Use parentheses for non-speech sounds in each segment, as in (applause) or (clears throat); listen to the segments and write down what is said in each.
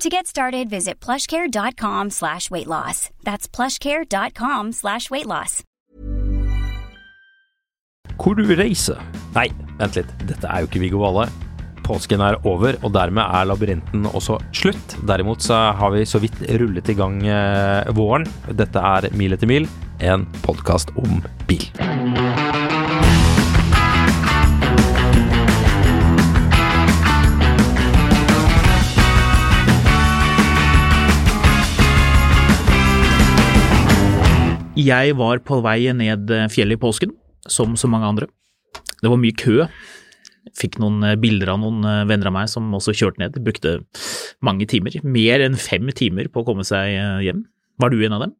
To get started, visit plushcare.com slash weight loss. That's plushcare.com slash weight loss. Hvor du reiser Nei, vent litt. Dette er jo ikke Viggo Valle. Påsken er over, og dermed er labyrinten også slutt. Derimot så har vi så vidt rullet i gang eh, våren. Dette er Mil etter mil, en podkast om bil. Jeg var på vei ned fjellet i påsken, som så mange andre. Det var mye kø. Fikk noen eh, bilder av noen venner av meg som også kjørte ned. Brukte mange timer, mer enn fem timer på å komme seg eh, hjem. Var du en av dem?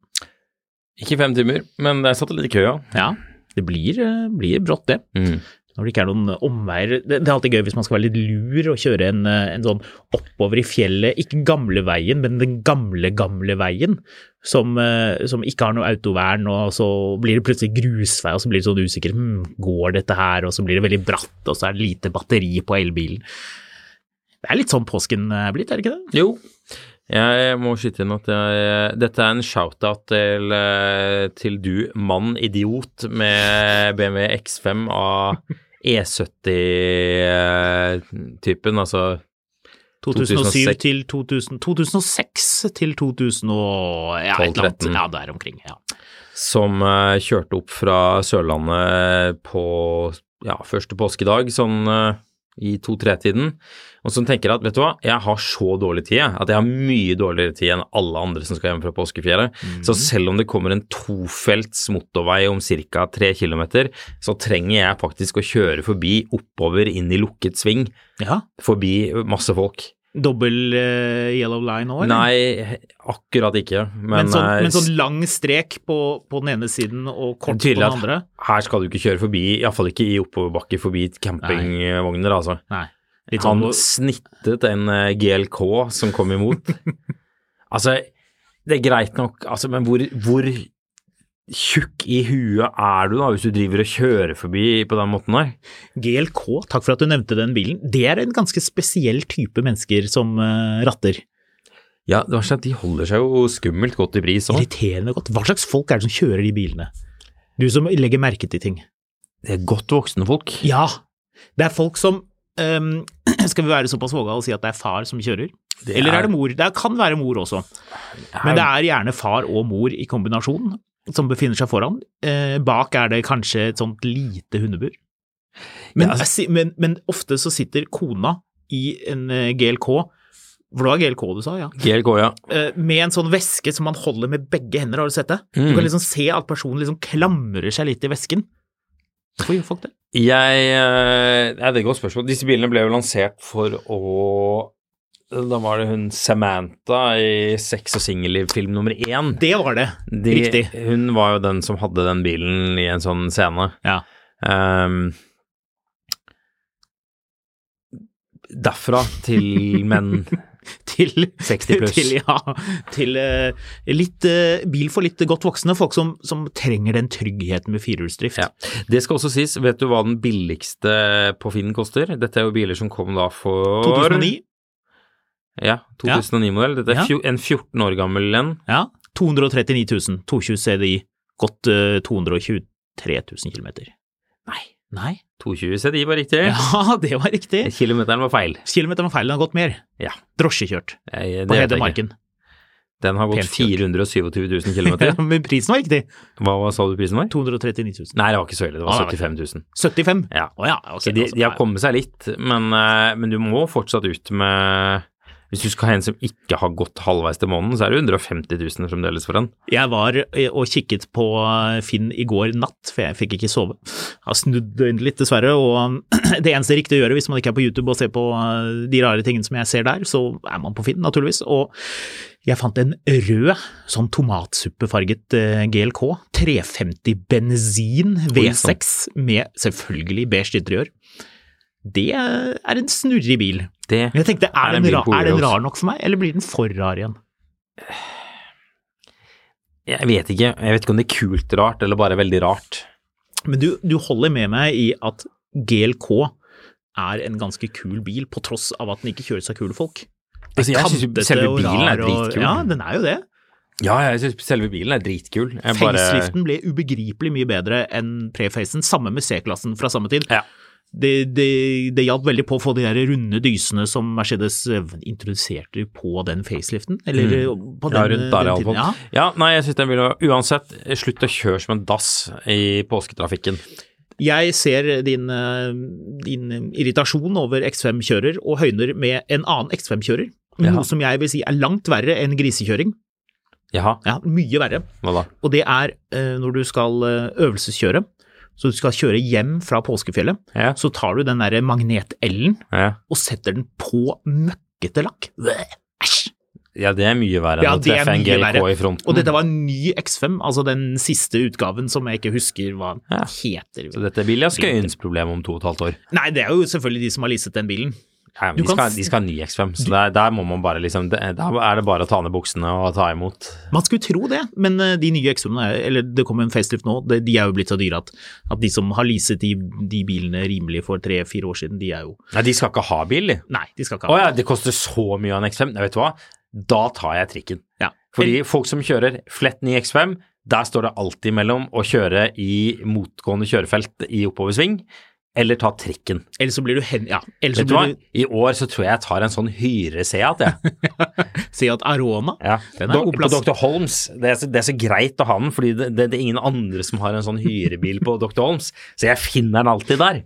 Ikke fem timer, men jeg satt litt i kø, ja. Ja, det blir, eh, blir brått det. Mm. Når det ikke er noen eh, omveier. Det, det er alltid gøy hvis man skal være litt lur og kjøre en, eh, en sånn oppover i fjellet, ikke gamleveien, men den gamle, gamle veien, som, eh, som ikke har noe autovern, og så blir det plutselig grusvei, og så blir det sånn usikker, hm, går dette her, og så blir det veldig bratt, og så er det lite batteri på elbilen. Det er litt sånn påsken er blitt, er det ikke det? Jo. Jeg må skyte inn at jeg, dette er en shout-out til, eh, til du, mann idiot, med BMW X5 av E E70-typen, eh, altså 2007 til 2000, 2006 til 2000 og ja, et eller annet. 12-13. Ja, der omkring, ja. som eh, kjørte opp fra Sørlandet på ja, første påskedag, sånn eh, i to-tre-tiden, og som tenker at vet du hva, jeg har så dårlig tid, jeg, at jeg har mye dårligere tid enn alle andre som skal hjem fra påskefjellet. Så selv om det kommer en tofelts motorvei om ca. tre kilometer, så trenger jeg faktisk å kjøre forbi oppover inn i lukket sving, Mm. Ja, forbi masse folk. Dobbel eh, yellow line nå, eller? Nei, akkurat ikke, men, Men, sånn, eh, men sånn lang strek på, på den ene siden og kort på Tydelig den at- andre? her skal du ikke kjøre forbi, iallfall ikke i oppoverbakke forbi campingvogner, altså. Nei. Litt sånn, Han snittet en eh, GLK som kom (laughs) imot. altså, det er greit nok, altså, men hvor, hvor tjukk i huet er du da, hvis du driver og kjører forbi på den måten der? GLK, takk for at du nevnte den bilen. Det er en ganske spesiell type mennesker som eh, ratter. Ja, det var sånn at de holder seg jo skummelt godt i pris òg. Irriterende godt. Hva slags folk er det som kjører de bilene? Du som legger merke til ting. Det er eh, godt voksne folk. Ja, det er folk som ehm, (clears throat) Skal vi være såpass vågale og si at det er far som kjører? Det Eller er- er det mor? Det kan være mor også. Men det er gjerne far og mor i kombinasjon som befinner seg foran. Eh, bak er det kanskje et sånt lite hundebur. altså, Men, Ja, si- men, men ofte så sitter kona i en eh, GLK, for det var GLK du sa, ja, GLK, ja. eh, med en sånn veske som man holder med begge hender, har du sett det? Du Mm. kan liksom se at personen liksom klamrer seg litt i vesken. Hvorfor gjør folk det? Jeg eh, Nei, det er et godt spørsmål. Disse bilene ble jo lansert for å Da var det hun Samantha i Sex og singel-film nummer én. Det var det, De- riktig. Hun var jo den som hadde den bilen i en sånn scene. Ja. Ehm, derfra til (laughs) menn Til 60 pluss. Til, ja, til eh, litt eh, bil for litt godt voksne, folk som, som trenger den tryggheten med firehjulsdrift. Ja. Det skal også sies, vet du hva den billigste på Finn koster? Dette er jo biler som kom da for 2009, Ja, 2009-modell. Dette er Ja. fjo- en 14 år gammel en. ja, 239 000, 220 CDI, godt eh, 223 000 kilometer. Nei. Nei. 220 CDI var riktig. Ja, (laughs) det var riktig. Kilometeren var feil. Kilometeren var feil, den har gått mer. Ja. Drosjekjørt Jeg, det på vet jeg ikke. Hedmarken. Den har gått Pent kjørt. 427 000 (laughs) km. Men prisen var riktig. Hva var- sa du prisen var? 239 000. Nei, det var ikke så ille. Det var Ah, nei. 75 000. 75? Ja. Å ja, ok, Så de, altså, de har nei. kommet seg litt, men, eh, men du må fortsatt ut med Hvis du skal ha en som ikke har gått halvveis til måneden, så er det 150 000 fremdeles for den. Jeg var eh, og kikket på eh, Finn i går natt, for jeg fikk ikke sove. Jeg har snudd døgnet litt, dessverre. Og (clears throat) det eneste riktige å gjøre hvis man ikke er på YouTube og ser på eh, de rare tingene som jeg ser der, så er man på Finn, naturligvis. Og jeg fant en rød, sånn tomatsuppefarget eh, GLK. 350 bensin V6 med selvfølgelig beige interiør. Det er en snurrig bil. Det Men jeg tenkte, Er er det den, en ra bil på er den Orioles? rar nok for meg, eller blir den for rar igjen? Jeg vet ikke. Jeg vet ikke om det er kult rart, eller bare veldig rart. Men du, du holder med meg i at GLK er en ganske kul bil, på tross av at den ikke kjøres av kule folk. Altså, jeg synes jo Kantete selve og bilen er rar og- dritkul. Ja, den er jo det. Ja, jeg syns selve bilen er dritkul. Jeg bare Faceliften ble ubegripelig mye bedre enn prefacen, samme med C-klassen fra samme tid. Ja. Det, det, det hjalp veldig på å få de der runde dysene som Mercedes eh, introduserte på den faceliften, eller eh, på Mm. den, ja, rundt der, den iallfall. tiden. Ja. Ja. ja, nei, jeg syns den bilen Uansett, slutt å kjøre som en dass i påsketrafikken. Jeg ser din, eh, din irritasjon over X5-kjører og høyner med en annen X5-kjører. Jaha. Noe som jeg vil si er langt verre enn grisekjøring. Jaha, Ja, mye verre. hva da? Og det er eh, når du skal eh, øvelseskjøre, så du skal kjøre hjem fra påskefjellet, Ja, så tar du den derre magnet-L-en ja. og setter den på møkkete lakk. Bleh, Æsj! ja det er mye verre enn Ja, å det er treffe en mye GLK verre. i fronten. Og dette var en ny X5, altså den siste utgaven som jeg ikke husker hva den Ja. heter. Så dette er Bilja Skøyens problem om to og et halvt år. Nei, det er jo selvfølgelig de som har leaset den bilen. Ja, men Du de, kan skal, f- de skal ha ny X5, så der, der må man bare liksom det- Der er det bare å ta ned buksene og ta imot. Man skulle tro det, men eh, de nye X-ene, er- eller det kommer en facelift nå, de de er jo blitt så dyre at, at de som har leaset de, de bilene rimelig for tre-fire år siden, de er jo Nei, de skal ikke ha bil, de. Nei, de skal ikke Å ha ja, det koster så mye av en X5. Nei, vet du hva, da tar jeg trikken. Ja. Fordi folk som kjører flett ny X5, der står det alltid mellom å kjøre i motgående kjørefelt i oppoversving, eller ta trikken. Ellers så blir du hen... Ja. Ellers så Vet du hva, blir du i år så tror jeg jeg tar en sånn hyre-Seat, jeg. (laughs) Se at Arona Ja. Den er Dok- god plass. På Dr. Holmes, det er, så, det er så greit å ha den, fordi det, det, det er ingen andre som har en sånn hyrebil på Dr. Holmes, så jeg finner den alltid der.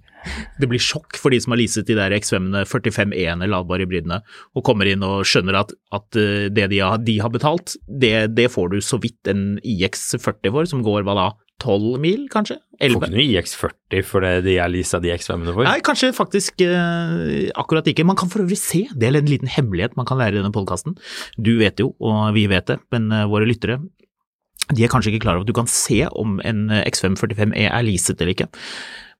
Det blir sjokk for de som har leaset de der X5-ene, 45E-ene, ladbare hybridene, og kommer inn og skjønner at, at eh, det de har, de har betalt, det, det får du så vidt en IX40 for, som går hva da, 12 mil, kanskje? Får 11? ikke noe IX40 for det de jeg leasa de X5-ene for. Nei, kanskje faktisk eh, akkurat ikke. Man kan for øvrig se, det er en liten hemmelighet man kan lære i denne podkasten. Du vet jo, og vi vet det, men eh, våre lyttere de er kanskje ikke klar over at du kan se om en eh, X545E er leaset eller ikke.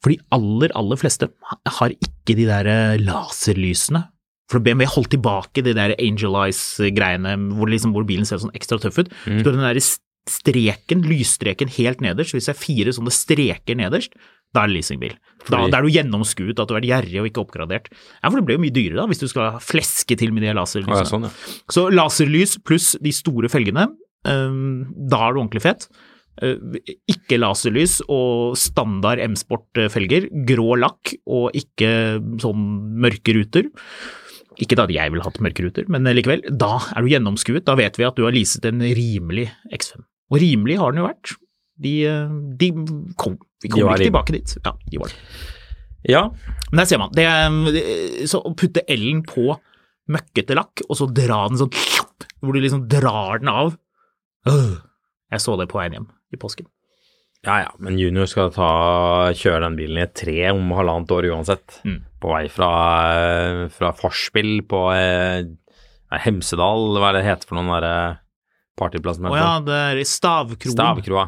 For de aller, aller fleste har ikke de der eh, laserlysene. For BMW holdt tilbake de der Angel Eyes-greiene hvor, liksom, hvor bilen ser sånn ekstra tøff ut. Mm. Så du har den der s- streken, lysstreken helt nederst. Hvis det er fire sånne streker nederst, da er det leasingbil. Da, Fordi- da er du gjennomskuet, at du har vært gjerrig og ikke oppgradert. Ja, for det blir jo mye dyrere da, hvis du skal fleske til med de Å, laserlysene. ja, sånn, ja. Så laserlys pluss de store felgene, ehm, da er du ordentlig fett. Eh, Ikke laserlys og standard M-sport-felger, grå lakk og ikke sånn mørke ruter. Ikke da jeg ville hatt mørke ruter, men eh, likevel. Da er du gjennomskuet, da vet vi at du har leaset en rimelig X5. Og rimelig har den jo vært. De, eh, de kom, De vi kommer var rimelig. ikke tilbake dit. Ja, de var det. ja. Men der ser man. Det, er- så å putte L-en på møkkete lakk, og så dra den sånn Hvor du liksom drar den av. Øh. Jeg så det på veien hjem i påsken. Ja ja, men junior skal ta, kjøre den bilen i et tre om halvannet år uansett. Mm. På vei fra, eh, fra Forspill på eh, nei, Hemsedal, hva er det det heter for noen eh, derre partyplass? Å ja, det er stavkroen. Stavkroa.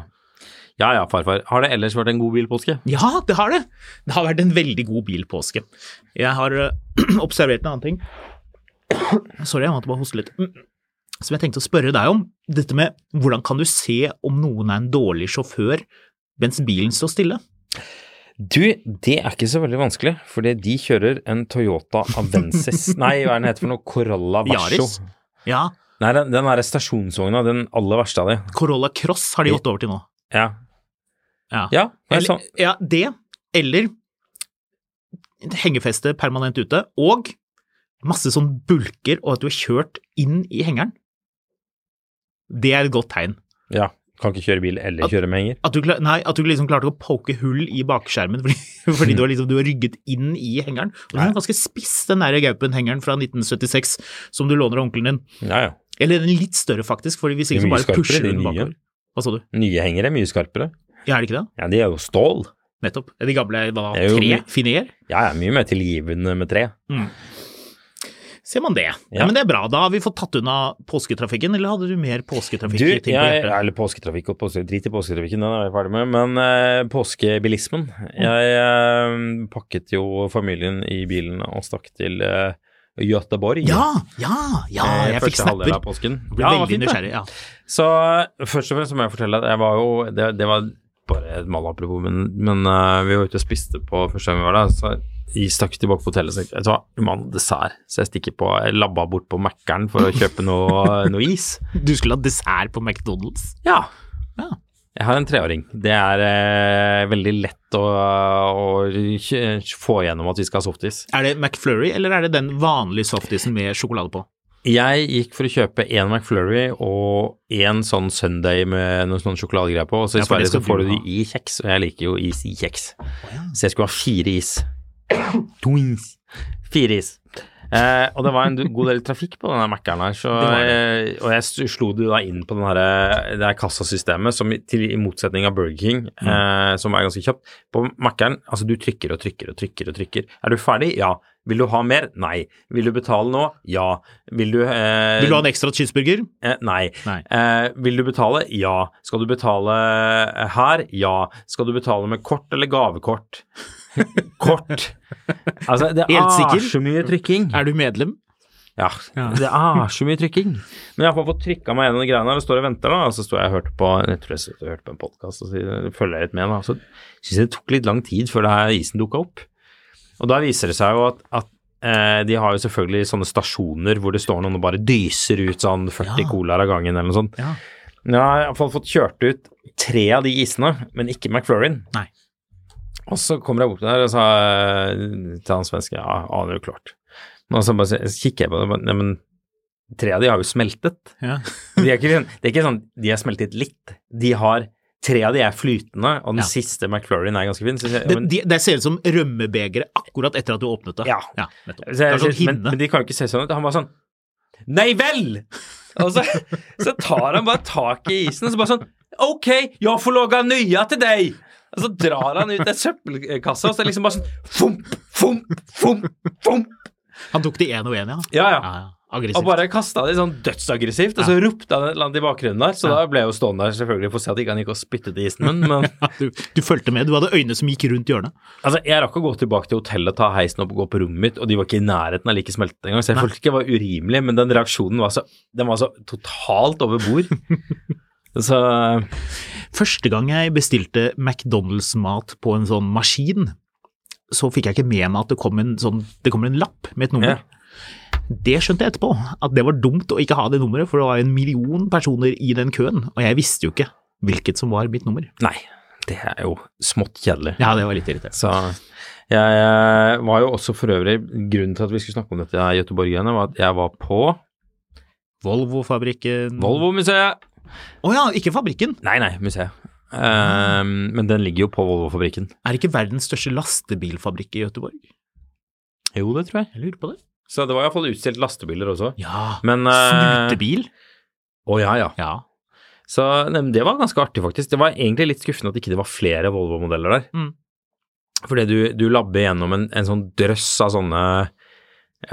Ja ja, farfar. Har det ellers vært en god bilpåske? Ja, det har det! Det har vært en veldig god bilpåske. Jeg har øh, (clears throat) observert en annen ting. Sorry, jeg måtte bare hoste litt. Mm. Som jeg tenkte å spørre deg om. Dette med hvordan kan du se om noen er en dårlig sjåfør mens bilen står stille? Du, det er ikke så veldig vanskelig, fordi de kjører en Toyota (laughs) Avensis Nei, hva er den heter for noe? Corolla Verso. Yaris? Ja, Nei, den, den er stasjonsvogna, den aller verste av de. Corolla Cross har de gått over til nå. Ja. Ja. Ja, det er Eller, sånn. ja, det, eller hengefeste permanent ute, og masse sånn bulker, og at du har kjørt inn i hengeren. Det er et godt tegn. Ja. Kan ikke kjøre bil eller At- kjøre med henger. At du, kla- nei, at du liksom klarte å poke hull i bakskjermen (laughs) fordi, fordi du, har liksom, du har rygget inn i hengeren. Og den er ganske spiss, den der gaupen-hengeren fra 1976 som du låner av onkelen din. Ja, ja. Eller den litt større, faktisk, fordi hvis Det er ikke så mye bare pusher skarpere, du de den nye. bakover. Hva sa du? Nye hengere er mye skarpere. Ja, er det ikke det? Ja, de er jo stål. Nettopp. De gamle hva, Det er jo tre mye- fineer? Ja, jeg er mye mer tilgivende med tre. Ser man det. Ja. Ja. Men det er bra. Da har vi fått tatt unna påsketrafikken, eller hadde du mer påsketrafikk? Du, i jeg, ting på hjertet? eller påsketrafikk og påske, drit i påsketrafikken, den er jeg ferdig med. Men eh, påskebilismen. Jeg eh, pakket jo familien i bilen og stakk til eh, Göteborg. Ja, ja, ja, Eh, jeg fikk første halvdel snapper. av påsken. Jeg Ble Ja, det var veldig fint, det. nysgjerrig. Ja. Så eh, først og fremst så må jeg fortelle at jeg var jo Det, det var bare et malapropos, men, men eh, vi var ute og spiste på første gang vi var der. Så jeg stakk tilbake på hotellet og tenkte jeg vet du hva, vi må ha noe dessert. Så jeg stikker på, jeg labba bort på Mækkern for å kjøpe noe, noe is. Du skulle ha dessert på McDonald's? Ja. Ja. Jeg har en treåring. Det er eh, veldig lett å, å kj- få gjennom at vi skal ha softis. Er det McFlurry, eller er det den vanlige softisen med sjokolade på? Jeg gikk for å kjøpe én McFlurry og én sånn Sunday med noen sånn sjokoladegreier på. Og så i Ja, for Sverige det så skal får du du det ha. i kjeks, og jeg liker jo is i kjeks. Så jeg skulle ha fire is. To is. Fire is. Eh, og det var en du- god del trafikk på denne Mækkern her, så, var eh, og jeg s- slo det da inn på den her, det her kassasystemet, som i, til, i motsetning av Burger King, Mm. eh, som er ganske kjapt. På Mækkern, altså du trykker og trykker og trykker og trykker. Er du ferdig? Ja. Vil du ha mer? Nei. Vil du betale nå? Ja. Vil du eh, Vil du ha en ekstra cheeseburger? Eh, nei. Nei. Eh, vil du betale? Ja. Skal du betale eh, her? Ja. Skal du betale med kort eller gavekort? (laughs) kort. Altså, det Helt sikker? er så mye trykking. Er du medlem? Ja, det er så mye trykking. (laughs) Men jeg har fått trykka meg gjennom de greiene her og står og venter, da. Og så står jeg og hørte på jeg tror jeg satt og hørte på en podkast og så følger jeg litt med, da. Så syns jeg det tok litt lang tid før det her isen dukka opp. Og da viser det seg jo at, at eh, de har jo selvfølgelig sånne stasjoner hvor det står noen og bare dyser ut sånn 40 Ja. colaer av gangen eller noe sånt. Ja. Men Jeg har iallfall fått kjørt ut tre av de isene, men ikke McFlurryen. Nei. Og så kommer jeg bort der og sa eh, til han svenske ja, aner jo klart. Men så bare så kikker jeg på det, og bare, nei, men tre av de har jo smeltet. Ja. De er ikke, sånn- det er ikke sånn de har smeltet litt. De har Tre av de er flytende, og den Ja. siste McFlurryen er ganske fin. Så jeg, Det, men, de, det ser ut som rømmebegeret akkurat etter at du åpnet det. Ja. nettopp. så Det jeg, er sånn men, hinne. men de kan jo ikke se sånn ut. Han var sånn Nei vel! Og så, så tar han bare tak i isen og så bare sånn Ok, jeg får lage nye til deg! Og så drar han ut en søppelkasse, og så er det liksom bare sånn Fomp, fomp, fomp, fomp! Han tok de én og én, ja. Ja, ja. ja, ja. Aggressivt. Og bare kasta de sånn dødsaggressivt, og så ropte han et eller annet i bakgrunnen der, så da ble jeg jo stående der selvfølgelig for å se at ikke han gikk og spyttet i isen min, men Du, du fulgte med, du hadde øyne som gikk rundt hjørnet. Altså, Jeg rakk å gå tilbake til hotellet, ta heisen opp og gå på rommet mitt, og de var ikke i nærheten av like smeltet engang, så jeg følte ikke det var urimelig, men den reaksjonen var så, den var så totalt over bord. (laughs) så Første gang jeg bestilte McDonald's-mat på en sånn maskin, så fikk jeg ikke med meg at det kom en, sånn, det kommer en lapp med et nummer. Det skjønte jeg etterpå, at det var dumt å ikke ha det nummeret, for det var en million personer i den køen, og jeg visste jo ikke hvilket som var mitt nummer. Nei, det er jo smått kjedelig. Ja, det var litt irriterende. Så jeg eh, var jo også for øvrig Grunnen til at vi skulle snakke om dette i Göteborg igjen, var at jeg var på Volvo-fabrikken Volvo-museet. Å ja, ikke fabrikken! Nei, nei, museet. Eh, men den ligger jo på Volvo-fabrikken. Er det ikke verdens største lastebilfabrikk i Gøteborg? Jo, det tror jeg. Jeg lurer på det. Så det var iallfall utstilt lastebiler også. Ja, Men eh, snutebil? Å ja, ja. Ja. Så nei, men det var ganske artig, faktisk. Det var egentlig litt skuffende at ikke det var flere Volvo-modeller der. Mm. Fordi du, du labber gjennom en, en sånn drøss av sånne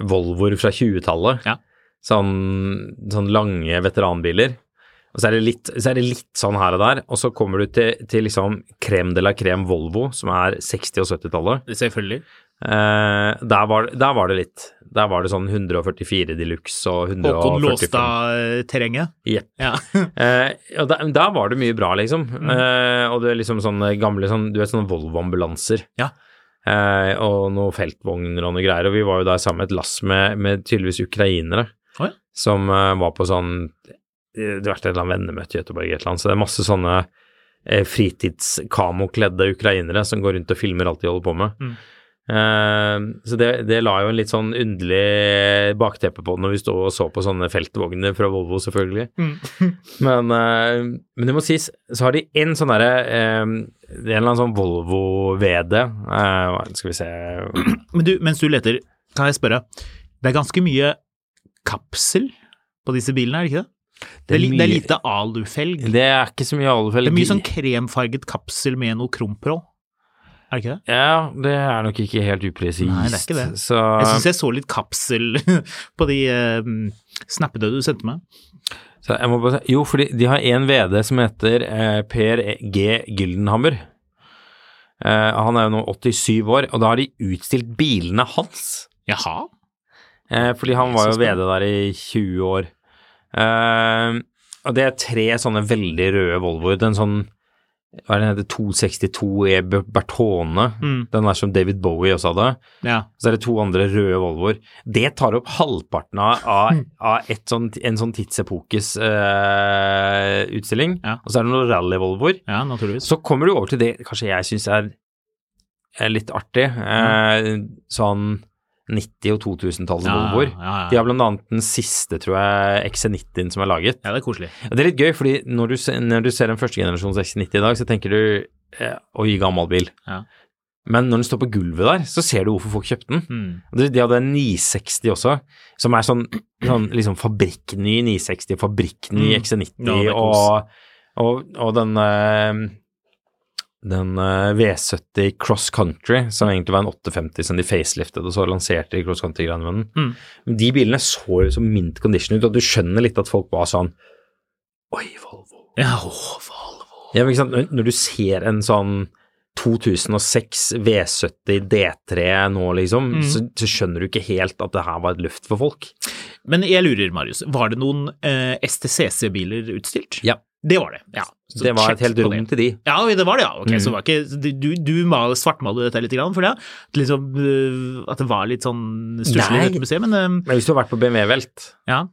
Volvoer fra 20-tallet. Ja. Sånn, sånn lange veteranbiler. Og så er, det litt, så er det litt sånn her og der, og så kommer du til, til liksom crème de la crème Volvo, som er 60- og 70-tallet. Selvfølgelig. Eh, der, var- der var det litt. Der var det sånn 144 de luxe og 145 Håkon Låstad-terrenget. Jepp. Ja. Eh, og der, der var det mye bra, liksom. Mm. Eh, og det er liksom sånne gamle sånn, Du vet sånne Volvo-ambulanser. Ja. Eh, og noen feltvogner og noe greier. Og vi var jo der sammen med et lass med, med tydeligvis ukrainere Å ja. som eh, var på sånn eh, Det har vært et eller annet vennemøte i Göteborg et eller annet, så det er masse sånne eh, fritidskamokledde ukrainere som går rundt og filmer alt de holder på med. Mm. Eh, Så det, det la jo en litt sånn underlig bakteppe på det når vi sto og så på sånne feltvogner fra Volvo, selvfølgelig. men, eh, men det må sies, så har de en sånn derre eh, det er En eller annen sånn Volvo-VD eh, Skal vi se Men du, mens du leter, kan jeg spørre. Det er ganske mye kapsel på disse bilene, er det ikke det? Det er, li- det er mye- lite alufelg. Det er ikke så mye alufell. Det er mye sånn kremfarget kapsel med noe krumperoll. Er det ikke det? Ja, det er nok ikke helt upresist. Nei, det er ikke det. Så Jeg syns jeg så litt kapsel (laughs) på de eh, snappene du sendte meg. Så jeg må bare, si- jo, fordi de har en VD som heter eh, Per G. Gyldenhammer. Eh, han er jo nå 87 år, og da har de utstilt bilene hans. Jaha? Eh, fordi han Det er var så jo VD der i 20 år. Eh, og det er tre sånne veldig røde Volvoer. Den sånn hva er det den heter, 262 E Bertone. Mm. Den der som David Bowie også hadde. Ja. Så er det to andre røde Volvoer. Det tar opp halvparten av, av, av et sånn, en sånn tidsepokes eh, utstilling. Ja. Og så er det noen rally-Volvoer. ja, naturligvis. Så kommer du over til det kanskje jeg syns er, er litt artig. Eh, sånn 90- og 2000-tallets Volvoer. Mm. Ja, ja, De ja. har blant annet den siste, tror jeg, XC90-en som er laget. ja, det er koselig. Og Det er litt gøy, fordi når du, se- når du ser en førstegenerasjons XC90 i dag, så tenker du eh, oi, gammel bil. Ja. Men når den står på gulvet der, så ser du hvorfor folk kjøpte den. Mm. Og De de hadde en 960 også, som er sånn, sånn liksom fabrikkny 960, fabrikkny Mm. XC90 Ja, det er og, og, og den, eh, den eh, V70 Cross Country, som egentlig var en 850 som de faceliftet, og så lanserte de Cross Country-greiene med den. Mm. Men De bilene så jo som mint condition ut, og du skjønner litt at folk var sånn Oi, Volvo. Ja, å, Volvo. Ja, men ikke sant? Når- Når du ser en sånn 2006 V70 D3 nå, liksom, Mhm. så, så skjønner du ikke helt at det her var et løft for folk. Men jeg lurer, Marius. Var det noen eh, STCC-biler utstilt? Ja. Det var det. ja. Så det var check et helt på rom det. til de. Ja, det var det, ja. Ok, Mm. så var ikke, så du, du- du mal- svartmaler dette litt, grann, føler jeg. At Liksom, øh, at det var litt sånn stusslig Nei. i dette museet, men øhm, Men hvis du har vært på BMW Velt, ja.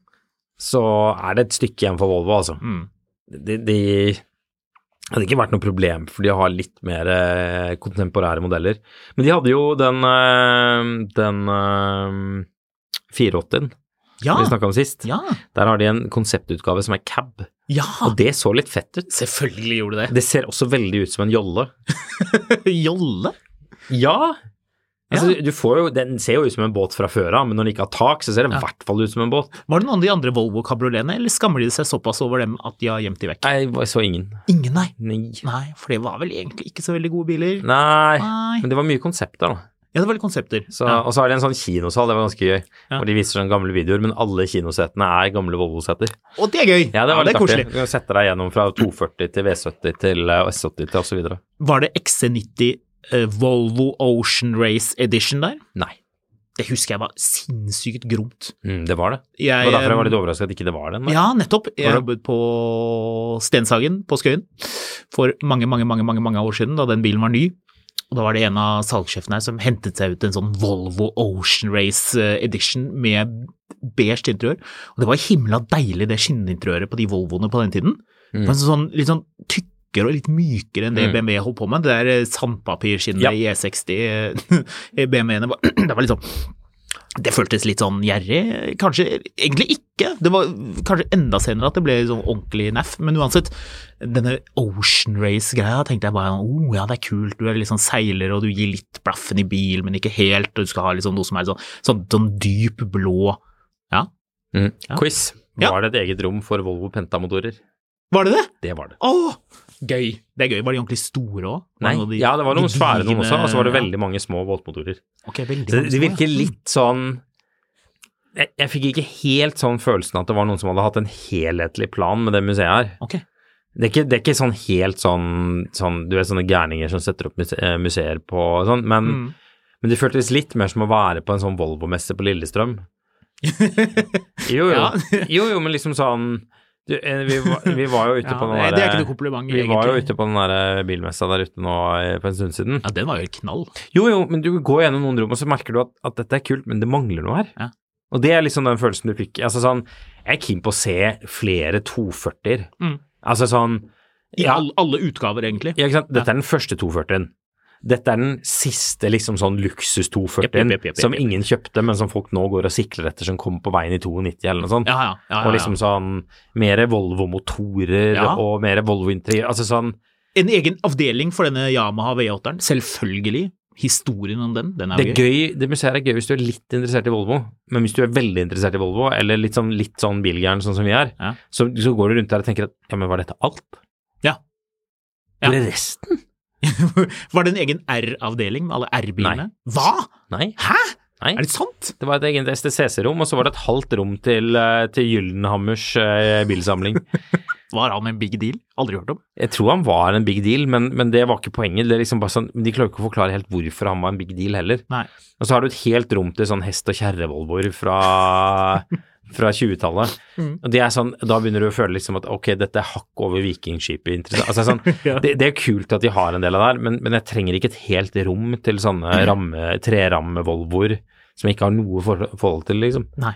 så er det et stykke igjen for Volvo, altså. Mm. De, de hadde ikke vært noe problem for de har litt mer eh, kontemporære modeller. Men de hadde jo den, eh, den eh, 480-en Ja, vi snakka om sist. ja, Der har de en konseptutgave som er cab, ja. og det så litt fett ut. Selvfølgelig gjorde det Det ser også veldig ut som en jolle. det. (laughs) Jolle? Ja! Altså, Ja. du får jo, Den ser jo ut som en båt fra før av, men når den ikke har tak, så ser den i Ja. hvert fall ut som en båt. Var det noen av de andre Volvo-kabrioletene, eller skammer de seg såpass over dem at de har gjemt de vekk? Nei, jeg så ingen. Ingen, nei. Nei. Nei, for det var vel egentlig ikke så veldig gode biler. Nei. Nei. Men det var mye konsept der, da. Ja, det var litt konsepter. Så, ja. Og så har de en sånn kinosal, det var ganske gøy. Ja. Hvor de viser sånne gamle videoer, men alle kinosetene er gamle Volvo-seter. Og det er gøy! Ja, det var er litt artig. koselig. Du kan sette deg gjennom fra 240 til V70 til eh, S80 til osv. Var det XC90 eh, Volvo Ocean Race Edition der? Nei. Det husker jeg var sinnssykt gromt. Mm, det var det. Det Jeg, eh, var derfor jeg var litt overrasket at ikke det var den. da. Ja, nettopp. Jeg Var det- jobbet på Stenshagen på Skøyen for mange, mange, mange, mange, mange år siden, da den bilen var ny. Og da var det en av salgssjefene her som hentet seg ut en sånn Volvo Ocean Race eh, Edition med beige interiør. Og det var himla deilig, det skinninteriøret på de Volvoene på den tiden. Det var sånn, litt sånn tykkere og litt mykere enn det Mm. BMW holdt på med. Det der eh, sandpapirskinnet Ja. i E60 eh, (laughs) BMW-ene var, (clears throat) det var litt sånn det føltes litt sånn gjerrig, kanskje egentlig ikke. Det var kanskje enda senere at det ble sånn ordentlig neff, men uansett. Denne Ocean Race-greia tenkte jeg bare oh, ja, det er kult, du er litt sånn seiler og du gir litt blaffen i bil, men ikke helt, og du skal ha liksom noe som er sånn, sånn, sånn dyp blå Ja, Mm. Ja. Quiz. Ja. Var det et eget rom for Volvo Penta-motorer? var det det? Det var det. Å, gøy. Det er gøy. Var de ordentlig store òg? Nei, ja, det var noen svære noen også, og så var det veldig mange små båtmotorer. veldig Så mange det små, virker ja. litt sånn jeg, jeg fikk ikke helt sånn følelsen at det var noen som hadde hatt en helhetlig plan med det museet her. Ok. Det er ikke, det er ikke sånn helt sånn, sånn Du vet sånne gærninger som setter opp muse- eh, museer på og sånn, men, Mm. men det føltes litt mer som å være på en sånn Volvo-messe på Lillestrøm. (laughs) Jo, jo. Ja. jo, jo, men liksom sånn du, eh, vi, var, vi var jo ute (laughs) Ja, på den det, det er ikke noe derre kompliment, vi var jo egentlig. ute på den der eh, bilmessa der ute nå eh, for en stund siden. Ja, den var jo helt knall. Jo, jo, men du går gjennom noen rom, og så merker du at, at dette er kult, men det mangler noe her. Ja. Og det er liksom den følelsen du fikk. Altså sånn, jeg er keen på å se flere 240-er. Mm. Altså sånn I Ja. all, alle utgaver, egentlig. ja, ikke sant? Dette er den første 240-en. Dette er den siste liksom sånn luksus 240 Jepp, jepp, jepp, jepp, som jepp. ingen kjøpte, men som folk nå går og sikler etter, som kommer på veien i 92 eller noe sånt. Ja, ja, ja, ja, ja. Og liksom sånn mer Volvo-motorer Ja. og mer Volvo-interiør. Altså sånn En egen avdeling for denne Yamaha V8-eren, selvfølgelig. Historien om den, den er Det jo er gøy, det museet er gøy hvis du er litt interessert i Volvo, men hvis du er veldig interessert i Volvo, eller litt sånn, litt sånn bilgæren sånn som vi er, Ja. så, så går du rundt der og tenker at ja, men var dette alt? Ja. Ja. Eller resten? (laughs) Var det en egen R-avdeling med alle R-bilene? Hva?! Nei. Hæ?! Nei. Er det sant?! Det var et eget STCC-rom, og så var det et halvt rom til, eh, til Gyllenhammers eh, (laughs) bilsamling. Var han en big deal? Aldri hørt om. Jeg tror han var en big deal, men, men det var ikke poenget. Det er liksom bare sånn, de klarer ikke å forklare helt hvorfor han var en big deal heller. Nei. Og så har du et helt rom til sånn hest- og kjerrevolvoer (laughs) fra, fra 20-tallet. Mm. Og det er sånn, Da begynner du å føle liksom at ok, dette er hakk over vikingskipet. interessant. Altså, (laughs) det, er sånn, det, det er kult at de har en del av det her, men, men jeg trenger ikke et helt rom til (clears throat) sånne ramme, treramme-volvoer som jeg ikke har noe for, forhold til, liksom. Nei.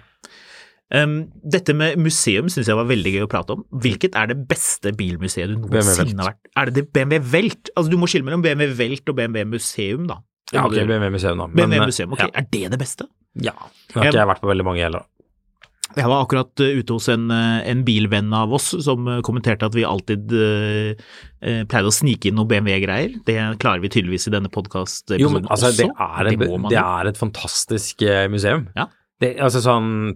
Ehm, dette med museum syns jeg var veldig gøy å prate om. Hvilket er det beste bilmuseet du BMW Welt. noensinne har vært? Er det det BMW Velt? Altså, du må skille mellom BMW Velt og BMW Museum, da. Det Ja, må ok, du gjøre. BMW museum, da. Men, BMW eh, Museum, ok. Er det det beste? Ja. Nå har ikke jeg vært på veldig mange heller. da. Jeg var akkurat eh, ute hos en, eh, en bilvenn av oss som eh, kommenterte at vi alltid eh, eh, pleide å snike inn noe BMW-greier. Det klarer vi tydeligvis i denne Jo, men podkast-episoden altså, sånn også. det er, det må en, man det jo. er et fantastisk eh, museum. Ja. Det, altså sånn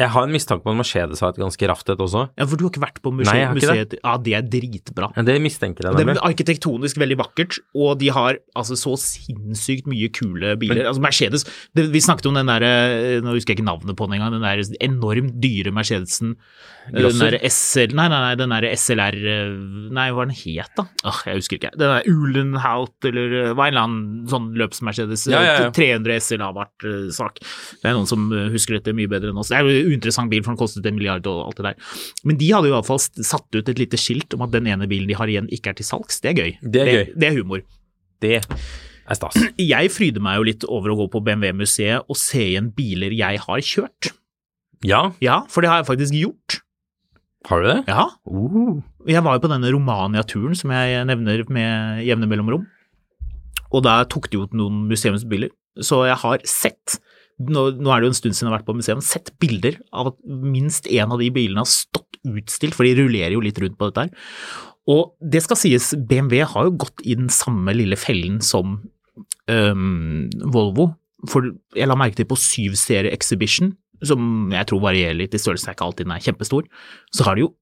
Jeg har en mistanke om at Mercedes har et ganske raft et også. Ja, for du har ikke vært på Nei, museet? jeg har ikke museet. Ja, det er dritbra. Ja, det mistenker jeg Det er nemlig. arkitektonisk veldig vakkert, og de har altså så sinnssykt mye kule biler. Altså Mercedes det, Vi snakket om den der, eh, nå husker jeg ikke navnet på den engang, den der enormt dyre Mercedesen. eh, Den Glosser? der SL Nei, nei, nei, den der SLR eh, Nei, hva var den het, da? Åh, jeg husker ikke. Den der Uhlenhaut, eller eh, var en eller annen sånn løps-Mercedes. eh, Ja, ja, ja. 300 SL Abart-sak. eh, Det er noen som eh, husker dette mye bedre enn oss. Det er jo en uinteressant bil, for den kostet en milliard og alt det der. Men de hadde jo iallfall satt ut et lite skilt om at den ene bilen de har igjen, ikke er til salgs. Det er gøy. Det er gøy. Det, det er humor. Det er stas. Jeg fryder meg jo litt over å gå på BMW-museet og se igjen biler jeg har kjørt. Ja, Ja, for det har jeg faktisk gjort. har du det? Ja. Uh. Jeg var jo på denne Romania-turen som jeg nevner med jevne mellomrom, og der tok de ut noen museumsbiler. Så jeg har sett, nå, nå er det jo en stund siden jeg har vært på museum, sett bilder av at minst én av de bilene har stått utstilt, for de rullerer jo litt rundt på dette her. Og det skal sies, BMW har jo gått i den samme lille fellen som øhm, Volvo. For jeg la merke til på 7-serie Exhibition, som jeg tror varierer litt i størrelse, det er ikke alltid den er kjempestor, så har de jo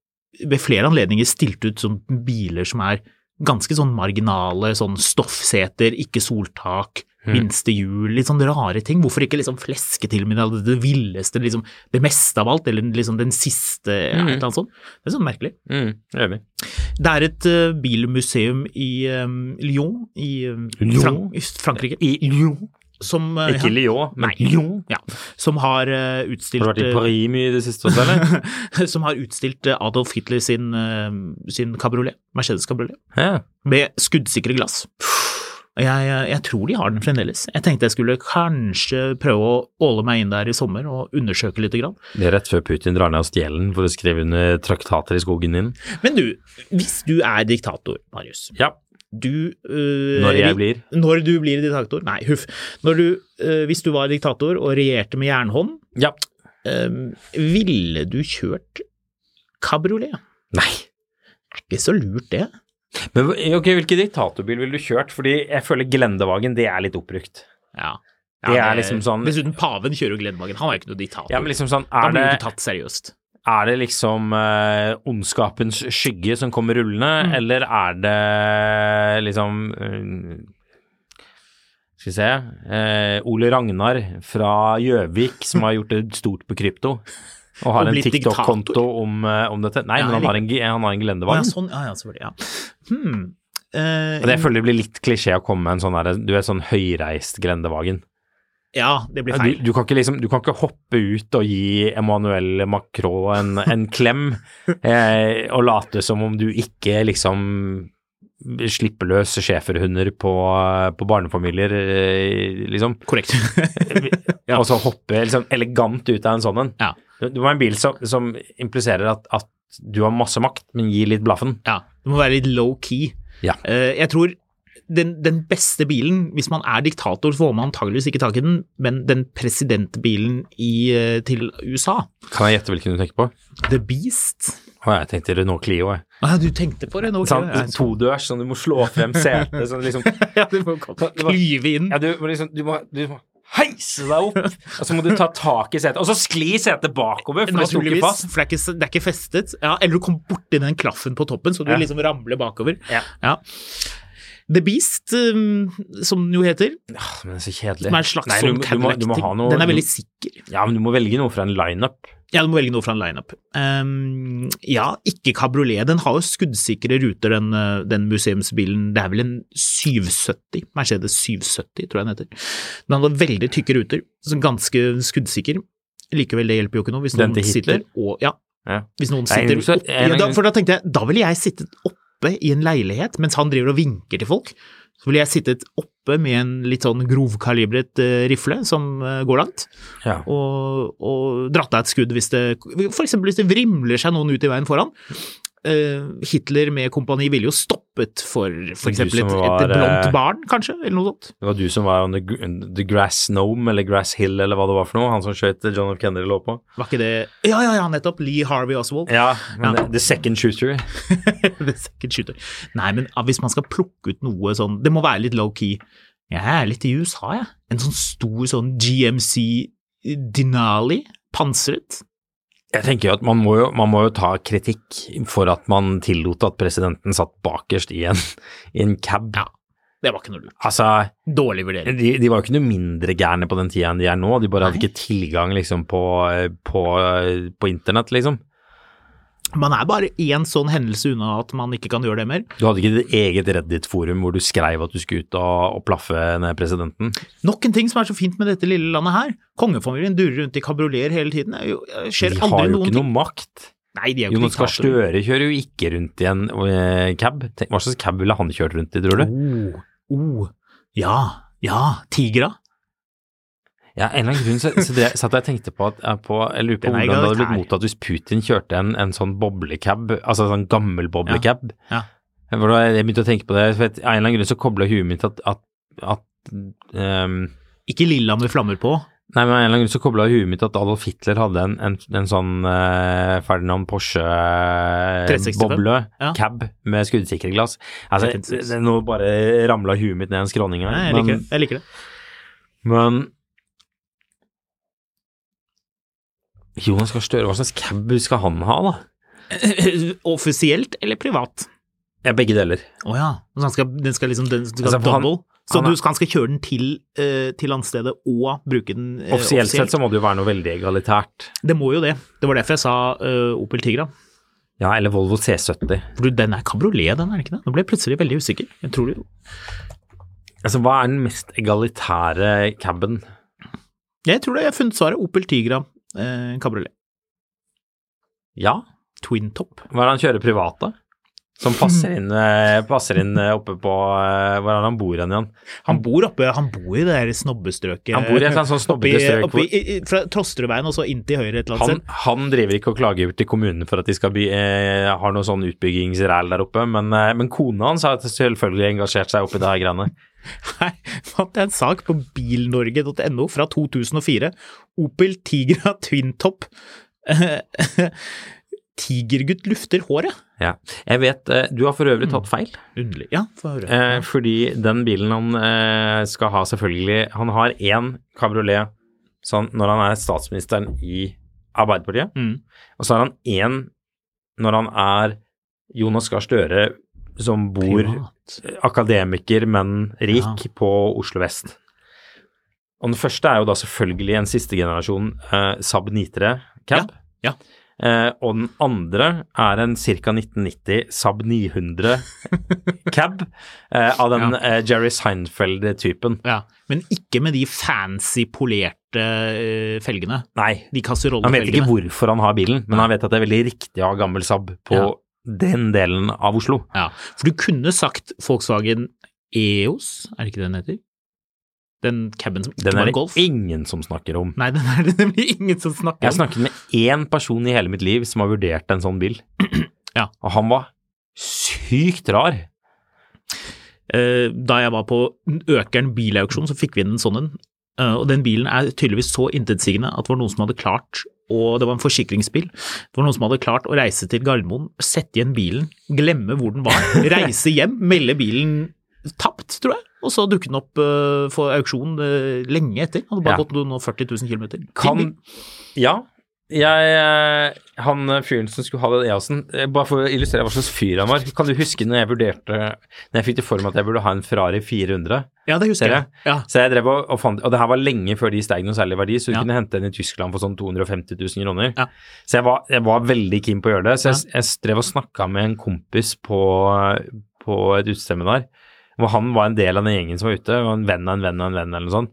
ved flere anledninger stilt ut som biler som er ganske sånn marginale, sånn stoffseter, ikke soltak, minste hjul, litt sånn rare ting. Hvorfor ikke liksom fleske til med det, det villeste, liksom det meste av alt, eller liksom den siste, ja, et eller annet sånt. Det er sånn merkelig. Mm, jeg er enig. Det er et eh, bilmuseum i eh, Lyon, i eh, Lyon? Frank- i Frankrike, I Lyon. som, eh, Ikke Lyon, men Lyon. ja, som har eh, utstilt Har du vært i eh, Paris mye i det siste også, eller? (laughs) som har utstilt eh, Adolf Hitler sin, eh, sin kabriolet, Mercedes kabriolet, ja. med skuddsikre glass. Og Jeg, jeg tror de har den fremdeles. Jeg tenkte jeg skulle kanskje prøve å åle meg inn der i sommer og undersøke litt. Grann. Det er rett før Putin drar ned av stjelen for å skrive under traktater i skogen din. Men du, hvis du er diktator, Marius Ja. du, eh, Når jeg vi- blir. Når du blir diktator? Nei, huff. Når du, eh, hvis du var diktator og regjerte med jernhånd, Ja. eh, ville du kjørt kabriolet? Nei. Er ikke så lurt, det. Men ok, hvilken diktatorbil ville du kjørt? Fordi jeg føler Glendevagen, det er litt oppbrukt. Ja. Det er liksom sånn- Dessuten, paven kjører jo Glendevagen. Han er jo ikke noe diktator. Ja, men liksom sånn, da er blir det, du ikke tatt seriøst. er det liksom eh, ondskapens skygge som kommer rullende, Mm. eller er det liksom eh, Skal vi se eh, Ole Ragnar fra Gjøvik som har gjort det stort på krypto. Og Og har en blitt TikTok-konto om, eh, om dette. Nei, Ja, men han eller- har en, g- han har en Å, ja, gelendervogn. sånn, ja, ja, selvfølgelig. Ja. Hmm. Eh, Og det jeg føler det blir litt klisjé å komme med en sånn der, du vet, sånn høyreist gelendervogn. ja, det blir Ja, feil. Du, du, kan ikke liksom, du kan ikke hoppe ut og gi Emmanuel Macron en, en klem (laughs) eh, og late som om du ikke liksom slipper løs schæferhunder på, på barnefamilier, eh, liksom. Korrekt. (laughs) Og så hoppe liksom elegant ut av en sånn en. ja. Du, du må ha en bil som, som impliserer at, at du har masse makt, men gir litt blaffen. ja. Det må være litt low key. Ja. Eh, jeg tror den, den beste bilen Hvis man er diktator, får man antageligvis ikke tak i den, men den presidentbilen i, eh, til USA, Kan jeg gjette hvilken du tenker på? The Beast Å, jeg tenkte Renault Clio, jeg. ah, Du tenkte på det nå? Sånn, Kjell. Jeg så- Todørs, sånn du må slå frem setet, sånn liksom Ja, du må komme- Det var- klyve inn. Ja, du må liksom du må, du må heise deg opp, (laughs) og så må du ta tak i setet, og så skli setet bakover, for det sto ikke Naturligvis, fast. for det er ikke, det er ikke festet. Ja, eller du kommer borti den klaffen på toppen, så du Ja. liksom ramler bakover. Ja. The Beast, um, som den jo heter, Åh, Men det er så kjedelig. som er en slags Nei, du, sånn du, må, Cadillac du må ha noe Den er veldig sikker. Ja, men du må velge noe fra en lineup. Ja, du må velge noe fra en lineup. Um, ja, ikke kabriolet. Den har jo skuddsikre ruter, den, uh, den museumsbilen. Det er vel en 770, Mercedes 770, tror jeg den heter. Den hadde veldig tykke ruter, så ganske skuddsikker. Likevel, det hjelper jo ikke noe hvis Den noen til Hitler? sitter og Ja, Ja. hvis noen Nei, sitter så- opp- en ja, da, gang- For da tenkte jeg, da ville jeg sittet oppe i en leilighet mens han driver og vinker til folk. Så ville jeg sittet oppe med en litt sånn grovkalibret eh, rifle som eh, går langt, Ja. og, og dratt av et skudd hvis det For eksempel hvis det vrimler seg noen ut i veien foran. Eh, Hitler med kompani ville jo stoppet for Du for eksempel som et, var, et blondt eh, barn, kanskje, eller noe sånt. Det var du som var on the, gr- the Grass Nome, eller Grass Hill, eller hva det var for noe. Han som skjøt John F. Kennedy lå på. Var ikke det Ja, ja, ja, nettopp. Lee Harvey Oswald. Ja, men Ja. The second shooter. (laughs) det er sikkert shooter. Nei, men ah, hvis man skal plukke ut noe sånn Det må være litt low-key. Jeg er litt i USA, jeg. En sånn stor sånn GMC eh, Denali, pansret. Jeg tenker jo at man må jo, man må jo ta kritikk for at man tillot at presidenten satt bakerst i en, i en cab. Ja. Det var ikke noe lurt. Altså, Dårlig vurdering. de, de var jo ikke noe mindre gærne på den tida enn de er nå. De bare hadde Nei. ikke tilgang liksom på, på, på internett, liksom. Man er bare én sånn hendelse unna at man ikke kan gjøre det mer. Du hadde ikke ditt eget Reddit-forum hvor du skrev at du skulle ut og, og plaffe ned presidenten. Nok en ting som er så fint med dette lille landet her. Kongefamilien durer rundt i kabrioleter hele tiden. Det er jo- det skjer De har aldri jo noen ikke ting. noe makt. Nei, de er jo ikke Jonas Gahr diktatorer. Støre kjører jo ikke rundt i en eh, cab. Tenk, hva slags cab ville han kjørt rundt i, tror du? Oh, oh. Ja, ja, tigra. Ja, en eller annen grunn så, så det, satt jeg og tenkte på, at, eh, på Jeg lurer på Den hvordan er det hadde blitt egalitær. mottatt hvis Putin kjørte en, en sånn boblecab, altså en sånn gammel boblecab. Ja, For da jeg begynte å tenke på det, for at, av en eller annen grunn så kobla huet mitt at, at, at ehm, Ikke lilla med flammer på. Nei, men av en eller annen grunn så kobla huet mitt at Adolf Hitler hadde en, en, en sånn eh, Ferdinand Porsche eh, 365. boble, Ja. cab, med skuddsikre glass. Altså, 356. det- nå bare ramla huet mitt ned en skråning her. Nei, jeg liker men, det. Jeg liker det. men Jonas Gahr Støre, hva slags cab skal han ha, da? (clears throat) Offisielt eller privat? Ja, begge deler. Å ja. Så han skal, den skal liksom den skal Altså, for han- double? så han er- du skal, han skal kjøre den til, eh, til landstedet og bruke den eh, Offisielt sett så må det jo være noe veldig egalitært. Det må jo det. Det var derfor jeg sa eh, Opel Tigra. Ja, eller Volvo C70. For du, den er kabriolet, den er den ikke det? Nå ble jeg plutselig veldig usikker. Jeg tror det jo. Altså, hva er den mest egalitære caben? Jeg tror det. Jeg har funnet svaret. Opel Tigra eh, kabriolet. Ja, Twin top. Hva er det han kjører privat, da? Som passer inn, eh, passer inn eh, oppe på eh, Hvor er det han bor hen igjen? Han bor oppe, han bor i det der snobbestrøket. Han bor i et sånt sånn Oppi, snobbete strøk. oppi, hvor- i, i- fra Trosterudveien og så inn til høyre et eller annet Han, sted. (laughs) han driver ikke og klager til kommunen for at de skal by, eh, har noe sånn utbyggingsræl der oppe, men, eh, men kona hans har selvfølgelig engasjert seg oppi det her greiene. Her fant jeg en sak på bilnorge.no fra 2004. Opel Tigra (laughs) Twintop. Tigergutt lufter håret. Ja. Jeg vet, eh, Du har for øvrig tatt feil, Underlig. Ja, få høre. eh, fordi den bilen han eh, skal ha, selvfølgelig Han har én kabriolet sånn, når han er statsministeren i Arbeiderpartiet. Mm. Og så har han én når han er Jonas Gahr Støre, som bor Privat. akademiker, men rik, på Oslo vest. Og den første er jo da selvfølgelig en siste generasjon eh, Saab 93 cab. Ja, ja. Eh, og den andre er en ca. 1990 Saab (laughs) 900 cab eh, av den Ja. eh, Jerry Seinfeld-typen. Ja, Men ikke med de fancy polerte eh, felgene. Nei, Han vet De ikke kasserollefelgene. hvorfor han har bilen, men han vet at det er veldig riktig å ha gammel Saab på Ja. den delen av Oslo. Ja, for du kunne sagt Volkswagen EOS, er det ikke det den heter? Den caben som ikke Den er var det Golf? ingen som snakker om. Nei, den er det nemlig ingen som snakker om. Jeg har snakket med én person i hele mitt liv som har vurdert en sånn bil, Ja. og han var sykt rar. Eh, Da jeg var på Økeren bilauksjon, så fikk vi inn en sånn en. Eh, Og den bilen er tydeligvis så intetsigende at det var noen som hadde klart og det var en forsikringsbil. Det var noen som hadde klart å reise til Gardermoen, sette igjen bilen, glemme hvor (laughs) den var, reise hjem, melde bilen tapt, tror jeg. Og så dukket den opp eh, for auksjon eh, lenge etter. Hadde bare Ja. gått noen og 40 000 km. Kan Ja. Jeg, eh, han eh, fyren som skulle ha den EOS-en, eh, bare for å illustrere hva slags fyr han var Kan du huske når jeg vurderte Når jeg fikk det for meg at jeg burde ha en Ferrari 400? Ja, det husker Dere? jeg. Ja. Så jeg drev og, og fant Og det her var lenge før de steg noe særlig i verdi, så du Ja. kunne hente den i Tyskland for sånn 250 000 kroner. Ja. Så jeg var, jeg var veldig keen på å gjøre det. Så jeg, jeg drev og snakka med en kompis på, på et uteseminar, hvor han var en del av den gjengen som var ute, og en venn av en venn av en venn eller noe sånt.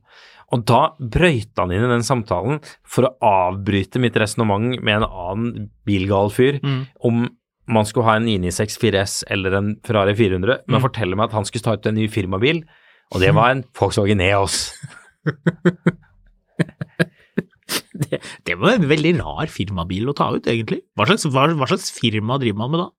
Og da brøyta han inn i den samtalen for å avbryte mitt resonnement med en annen bilgal fyr Mm. om man skulle ha en 996 4S eller en Ferrari 400, men Mm. forteller meg at han skulle ta ut en ny firmabil, og det var en Volkswagen (laughs) Neos. Det, det var en veldig rar firmabil å ta ut, egentlig. Hva slags, hva, hva slags firma driver man med da?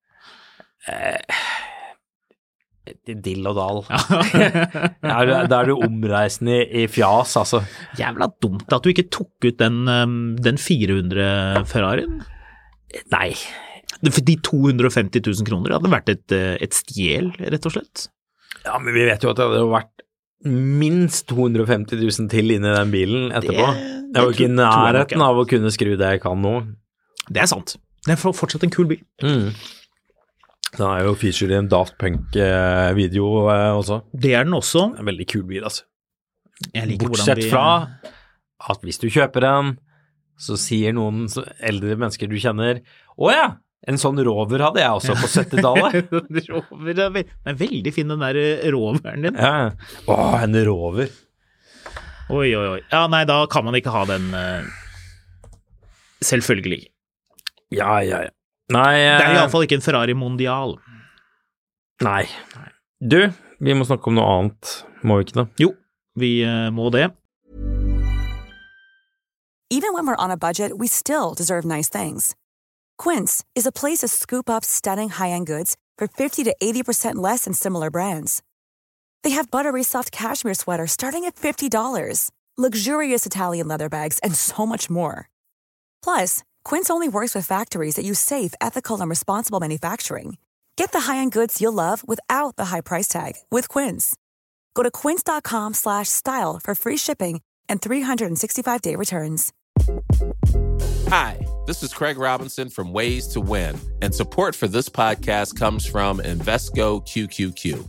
Dill og dal. (laughs) Da er du- da er du omreisende i, i fjas, altså. Jævla dumt at du ikke tok ut den, um, den 400 Ferrarien. Nei. Det- For de 250 000 kroner hadde vært et, eh, et stjel, rett og slett. Ja, men vi vet jo at det hadde jo vært minst 250 000 til inni den bilen etterpå. Det- det jeg var ikke i tro- tror jeg nok, nærheten ja. av å kunne skru det jeg kan nå. Det er sant. Det er for- fortsatt en kul bil. Mm. Den er jo feature i en Daft Punk-video eh, også. Det er den også. En veldig kul bil, altså. Jeg liker hvordan Bortsett vi- fra (laughs) at hvis du kjøper en, så sier noen s- eldre mennesker du kjenner Å ja, en sånn rover hadde jeg også på (laughs) (laughs) 70-tallet. Rover er ve- Men veldig fin den der eh, roveren din. ja. ja. Å, en rover. Oi, oi, oi. Ja, nei, da kan man ikke ha den. eh, Selvfølgelig. Ja, ja, ja. Nei, Det er eh, iallfall ikke en Ferrari Mondial. nei. Du, vi må snakke om noe annet, må vi ikke det? Jo, vi eh, må det. Even when we're on a budget, we still deserve nice things. Quince is a place to scoop up stunning high end goods for 50 to 80% less than similar brands. They have buttery soft cashmere sweaters starting at $50, luxurious Italian leather bags, and so much more. Plus, Quince only works with factories that use safe, ethical, and responsible manufacturing. Get the high-end goods you'll love without the high price tag with Quince. Go to quince.com/style slash style for free shipping and 365-day returns. Hi, this is Craig Robinson from Ways to Win, and support for this podcast comes from Invesco QQQ.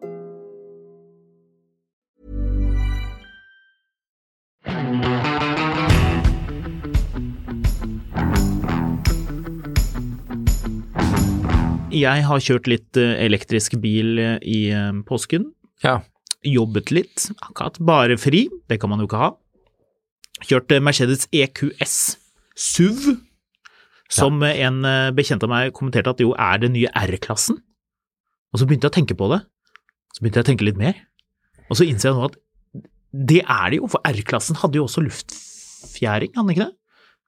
Jeg har kjørt litt eh, elektrisk bil eh, i eh, påsken. Ja. Jobbet litt. Akkurat bare fri. Det kan man jo ikke ha. Kjørt eh, Mercedes EQS SUV, som eh, en eh, bekjent av meg kommenterte at jo er den nye R-klassen. Og så begynte jeg å tenke på det. Så begynte jeg å tenke litt mer. Og så innser jeg nå at det er det jo, for R-klassen hadde jo også luftfjæring, hadde den ikke det?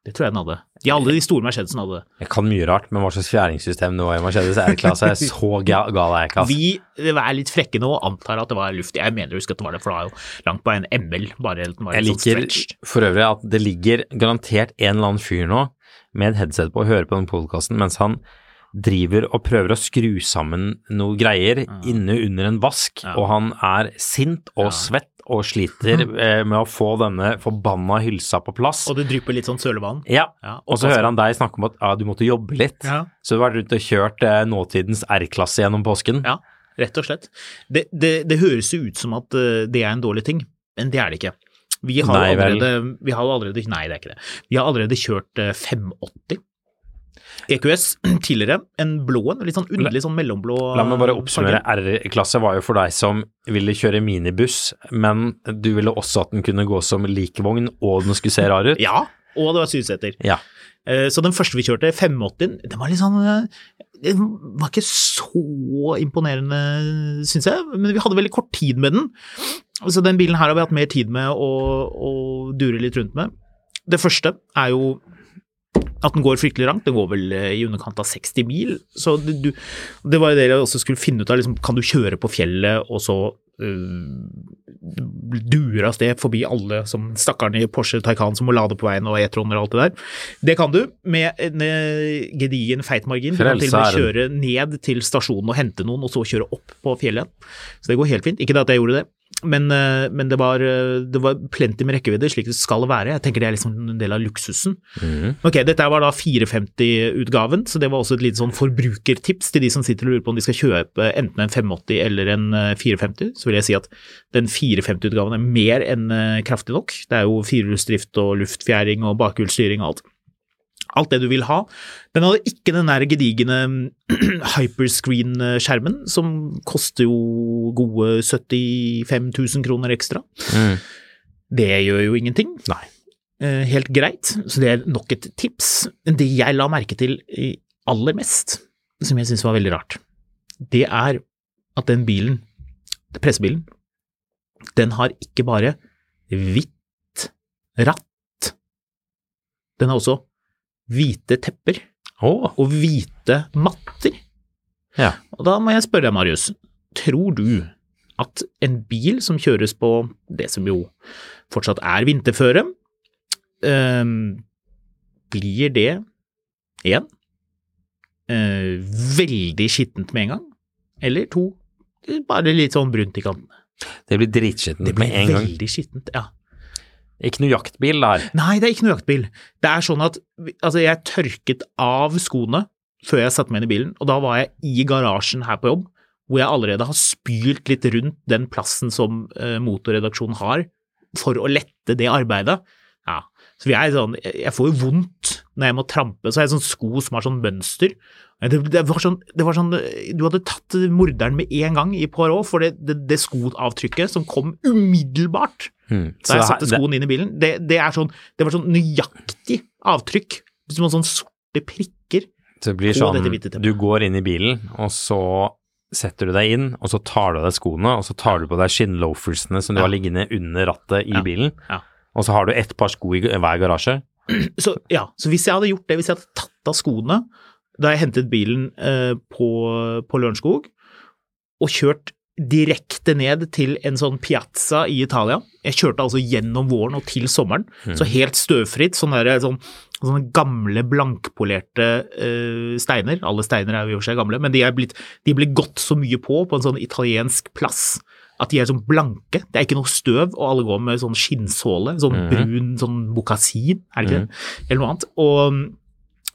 Det tror jeg den hadde. De alle de store Mercedesene hadde det. Jeg kan mye rart, men hva slags fjæringssystem det var i Mercedes R-klasse, er så ga gal er jeg ikke, altså. Vi er litt frekke nå og antar at det var luft. Jeg mener å huske at det var det, for det var jo langt på en ML. bare den var Jeg litt liker sånn stretched. for øvrig at det ligger garantert en eller annen fyr nå med et headset på og hører på den podkasten mens han driver og prøver å skru sammen noe greier inne under en vask, og han er sint og svett og (laughs) sliter eh, med å få denne forbanna hylsa på plass. Og det drypper litt sånn sølevann. Ja, Ja, altså- og så hører han deg snakke om at ja, du måtte jobbe litt, Ja. så du har vært rundt og kjørt eh, nåtidens R-klasse gjennom påsken. Ja, rett og slett. Det, det, det høres jo ut som at eh, det er en dårlig ting, men det er det ikke. Vi har, Nei, jo vel. allerede, vi har jo allerede Nei, det er ikke det. Vi har allerede kjørt eh, 580. EQS (clears throat) tidligere, en blå en, litt sånn underlig sånn mellomblå La meg bare farge. oppsummere. R-klasse var jo for deg som ville kjøre minibuss, men du ville også at den kunne gå som likvogn og den skulle se rar ut. Ja, Og det var Sydsæter. Ja. Eh, Så den første vi kjørte, 580-en, den var litt sånn eh, Den var ikke så imponerende, syns jeg, men vi hadde veldig kort tid med den. Så den bilen her har vi hatt mer tid med å, å dure litt rundt med. Det første er jo at den går fryktelig langt. Den går vel eh, i underkant av 60 mil. Så det, du, det var jo det jeg også skulle finne ut av. Liksom, kan du kjøre på fjellet og så eh, dure av sted forbi alle som stakkarene i Porsche Taycan som må lade på veien og E-troner og alt det der? Det kan du med en eh, gedigen feitmargin. Du kan til og med Frelseren. kjøre ned til stasjonen og hente noen, og så kjøre opp på fjellet igjen. Så det går helt fint. Ikke det at jeg gjorde det. Men, eh, men det, var, eh, det var plenty med rekkevidde, slik det skal være. Jeg tenker det er liksom en del av luksusen. Ok, Dette var da 450-utgaven, så det var også et lite sånn forbrukertips til de som sitter og lurer på om de skal kjøpe enten en 580 eller en eh, 450. Så vil jeg si at den 450-utgaven er mer enn eh, kraftig nok. Det er jo firehjulsdrift og luftfjæring og bakhjulsstyring og alt. Alt det du vil ha. Den hadde ikke den der gedigne (clears throat) hyperscreen-skjermen, som koster jo gode 75 000 kroner ekstra. Det gjør jo ingenting. Nei. Eh, Helt greit, så det er nok et tips. Men det jeg la merke til i- aller mest, som jeg syns var veldig rart, det er at den bilen, pressebilen, den har ikke bare hvitt ratt, den har også hvite tepper Å, og hvite matter. Ja. Og da må jeg spørre deg, Marius, tror du at en bil som kjøres på det som jo fortsatt er vinterføre, øhm, blir det én øh, veldig skittent med en gang, eller to bare litt sånn brunt i kantene? det blir dritskittent med en gang. Veldig skittent, ja. Ikke noe jaktbil der. Nei, det er ikke noe jaktbil. Det er sånn at vi- altså, jeg tørket av skoene før jeg satte meg inn i bilen, og da var jeg i garasjen her på jobb, hvor jeg allerede har spylt litt rundt den plassen som eh, motorredaksjonen har, for å lette det arbeidet. Ja, så vi er sånn, jeg jeg får jo vondt når jeg må trampe, så har jeg sånn sko som har sånn mønster. Men Det, det, var sånn, det var sånn, du hadde tatt morderen med en gang i Poirot, for det, det, det skoavtrykket som kom umiddelbart Så da jeg det her- Hmm. satte skoen inn i bilen. Det, det, er sånn, det var sånn nøyaktig avtrykk. Som sånn sorte prikker. Det blir Og dette hvite sånn, teppet. du går inn i bilen, og så setter du deg inn, og så tar du av deg skoene, og så tar du på deg skinnloafersene som du Ja. har liggende under rattet i Ja. bilen, Ja. og så har du ett par sko i hver garasje. Så, ja, så hvis jeg hadde gjort det, hvis jeg hadde tatt av skoene da jeg hentet bilen eh, på, på Lørenskog, og kjørt direkte ned til en sånn piazza i Italia Jeg kjørte altså gjennom våren og til sommeren, så helt støvfritt. Sånne, der, sånn, sånne gamle, blankpolerte eh, steiner. Alle steiner er jo i og for seg gamle, men de er blitt, de blir gått så mye på på en sånn italiensk plass. At de er sånn blanke, det er ikke noe støv, og alle går med sånn skinnsåle, sånn brun sånn bokasin, er det ikke det? Eller noe annet. Og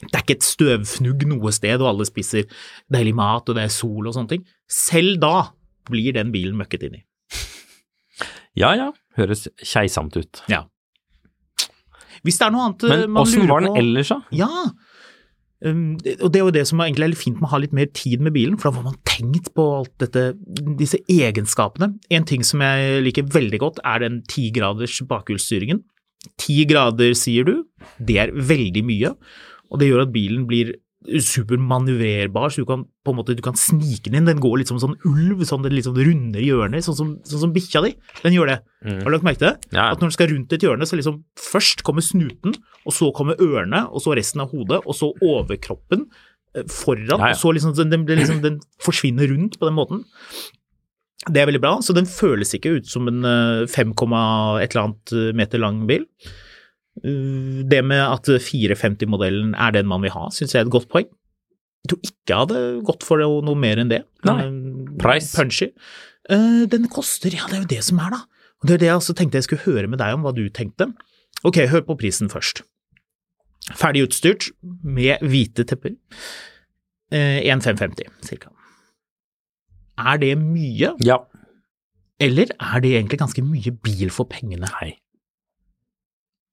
det er ikke et støvfnugg noe sted, og alle spiser deilig mat, og det er sol og sånne ting. Selv da blir den bilen møkket inn i. Ja ja, høres keisamt ut. Ja. Hvis det er noe annet eh, Men man åssen lurer var den på ellers, da? Ja. Um, det- og det er jo det som egentlig er litt fint med å ha litt mer tid med bilen, for da får man tenkt på alt dette, disse egenskapene. En ting som jeg liker veldig godt, er den 10 graders bakhjulsstyringen. 10 grader, sier du, det er veldig mye, og det gjør at bilen blir supermanøvrerbar, så du kan på en måte du kan snike den inn. Den går litt som en sånn ulv, sånn den liksom runder hjørner, sånn som, sånn som bikkja di. Den gjør det. Har du lagt merke til det? Ja. At når den skal rundt et hjørne, så liksom først kommer snuten, og så kommer ørene, og så resten av hodet, og så overkroppen eh, foran, ja. og så liksom den, den, blir liksom den forsvinner rundt på den måten. Det er veldig bra, så den føles ikke ut som en eh, 5, et eller annet eh, meter lang bil. Uh, Det med at 450-modellen er den man vil ha, syns jeg er et godt poeng. Jeg tror ikke jeg hadde gått for det, og noe mer enn det. Nei. Um, Price? Punchy. Eh, Den koster, ja det er jo det som er, da. Og Det er det jeg også tenkte jeg skulle høre med deg om, hva du tenkte. Ok, hør på prisen først. Ferdig utstyrt, med hvite tepper. Eh, 1550, cirka. Er det mye, Ja. eller er det egentlig ganske mye bil for pengene? Nei.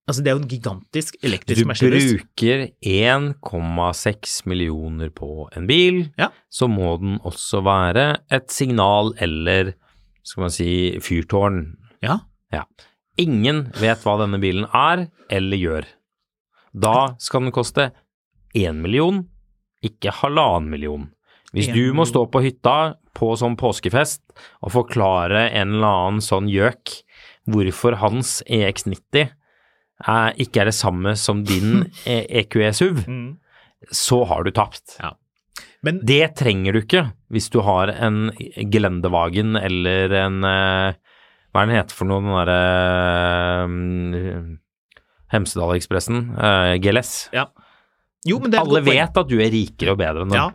Altså, det er jo en gigantisk Du elektrisk Mercedes. bruker 1,6 millioner på en bil, Ja. så må den også være et signal eller, skal man si, fyrtårn. Ja. Ingen vet hva denne bilen er eller gjør. Da skal den koste én million, ikke halvannen million. Hvis En du må stå på hytta på sånn påskefest og forklare en eller annen sånn gjøk hvorfor hans EX90 er, ikke er det samme som din E- EQE SUV, Mm. så har du tapt. Ja. Men Det trenger du ikke hvis du har en Gelendewagen eller en eh, Hva er den heter for noe, den derre Hemsedalekspressen? eh, GLS. ja. Jo, men det er et Alle godt poeng. vet at du er rikere og bedre enn dem. Ja.